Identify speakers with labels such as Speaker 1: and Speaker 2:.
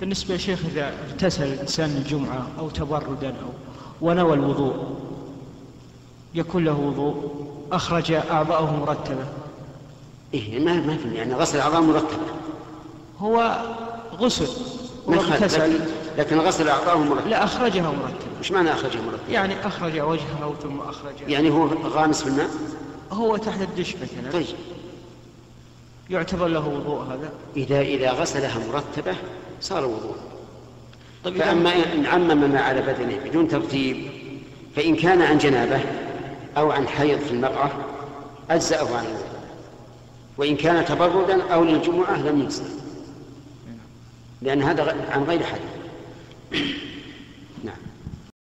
Speaker 1: بالنسبة يا شيخ إذا اغتسل الإنسان الجمعة أو تبردا أو ونوى الوضوء يكون له وضوء أخرج أعضاءه مرتبة
Speaker 2: إيه ما ما في يعني غسل الأعضاء مرتبة
Speaker 1: هو غسل
Speaker 2: ما يخالف،
Speaker 1: واغتسل
Speaker 2: لكن, لكن غسل الأعضاء مرتبة
Speaker 1: لا أخرجها مرتبة
Speaker 2: إيش معنى أخرجه مرتبة؟
Speaker 1: يعني أخرج وجهه ثم أخرج
Speaker 2: يعني هو غامس في الماء؟
Speaker 1: هو تحت الدش مثلا
Speaker 2: طيب
Speaker 1: يعتبر له وضوء هذا
Speaker 2: إذا إذا غسلها مرتبة صار وضوء
Speaker 1: طيب إذا-
Speaker 2: فأما إن عمم ما على بدنه بدون ترتيب فإن كان عن جنابة أو عن حيض في المرأة أجزأه عن الوضوء وإن كان تبردا أو للجمعة لم يجزأ لأن هذا غ- عن غير حدث نعم.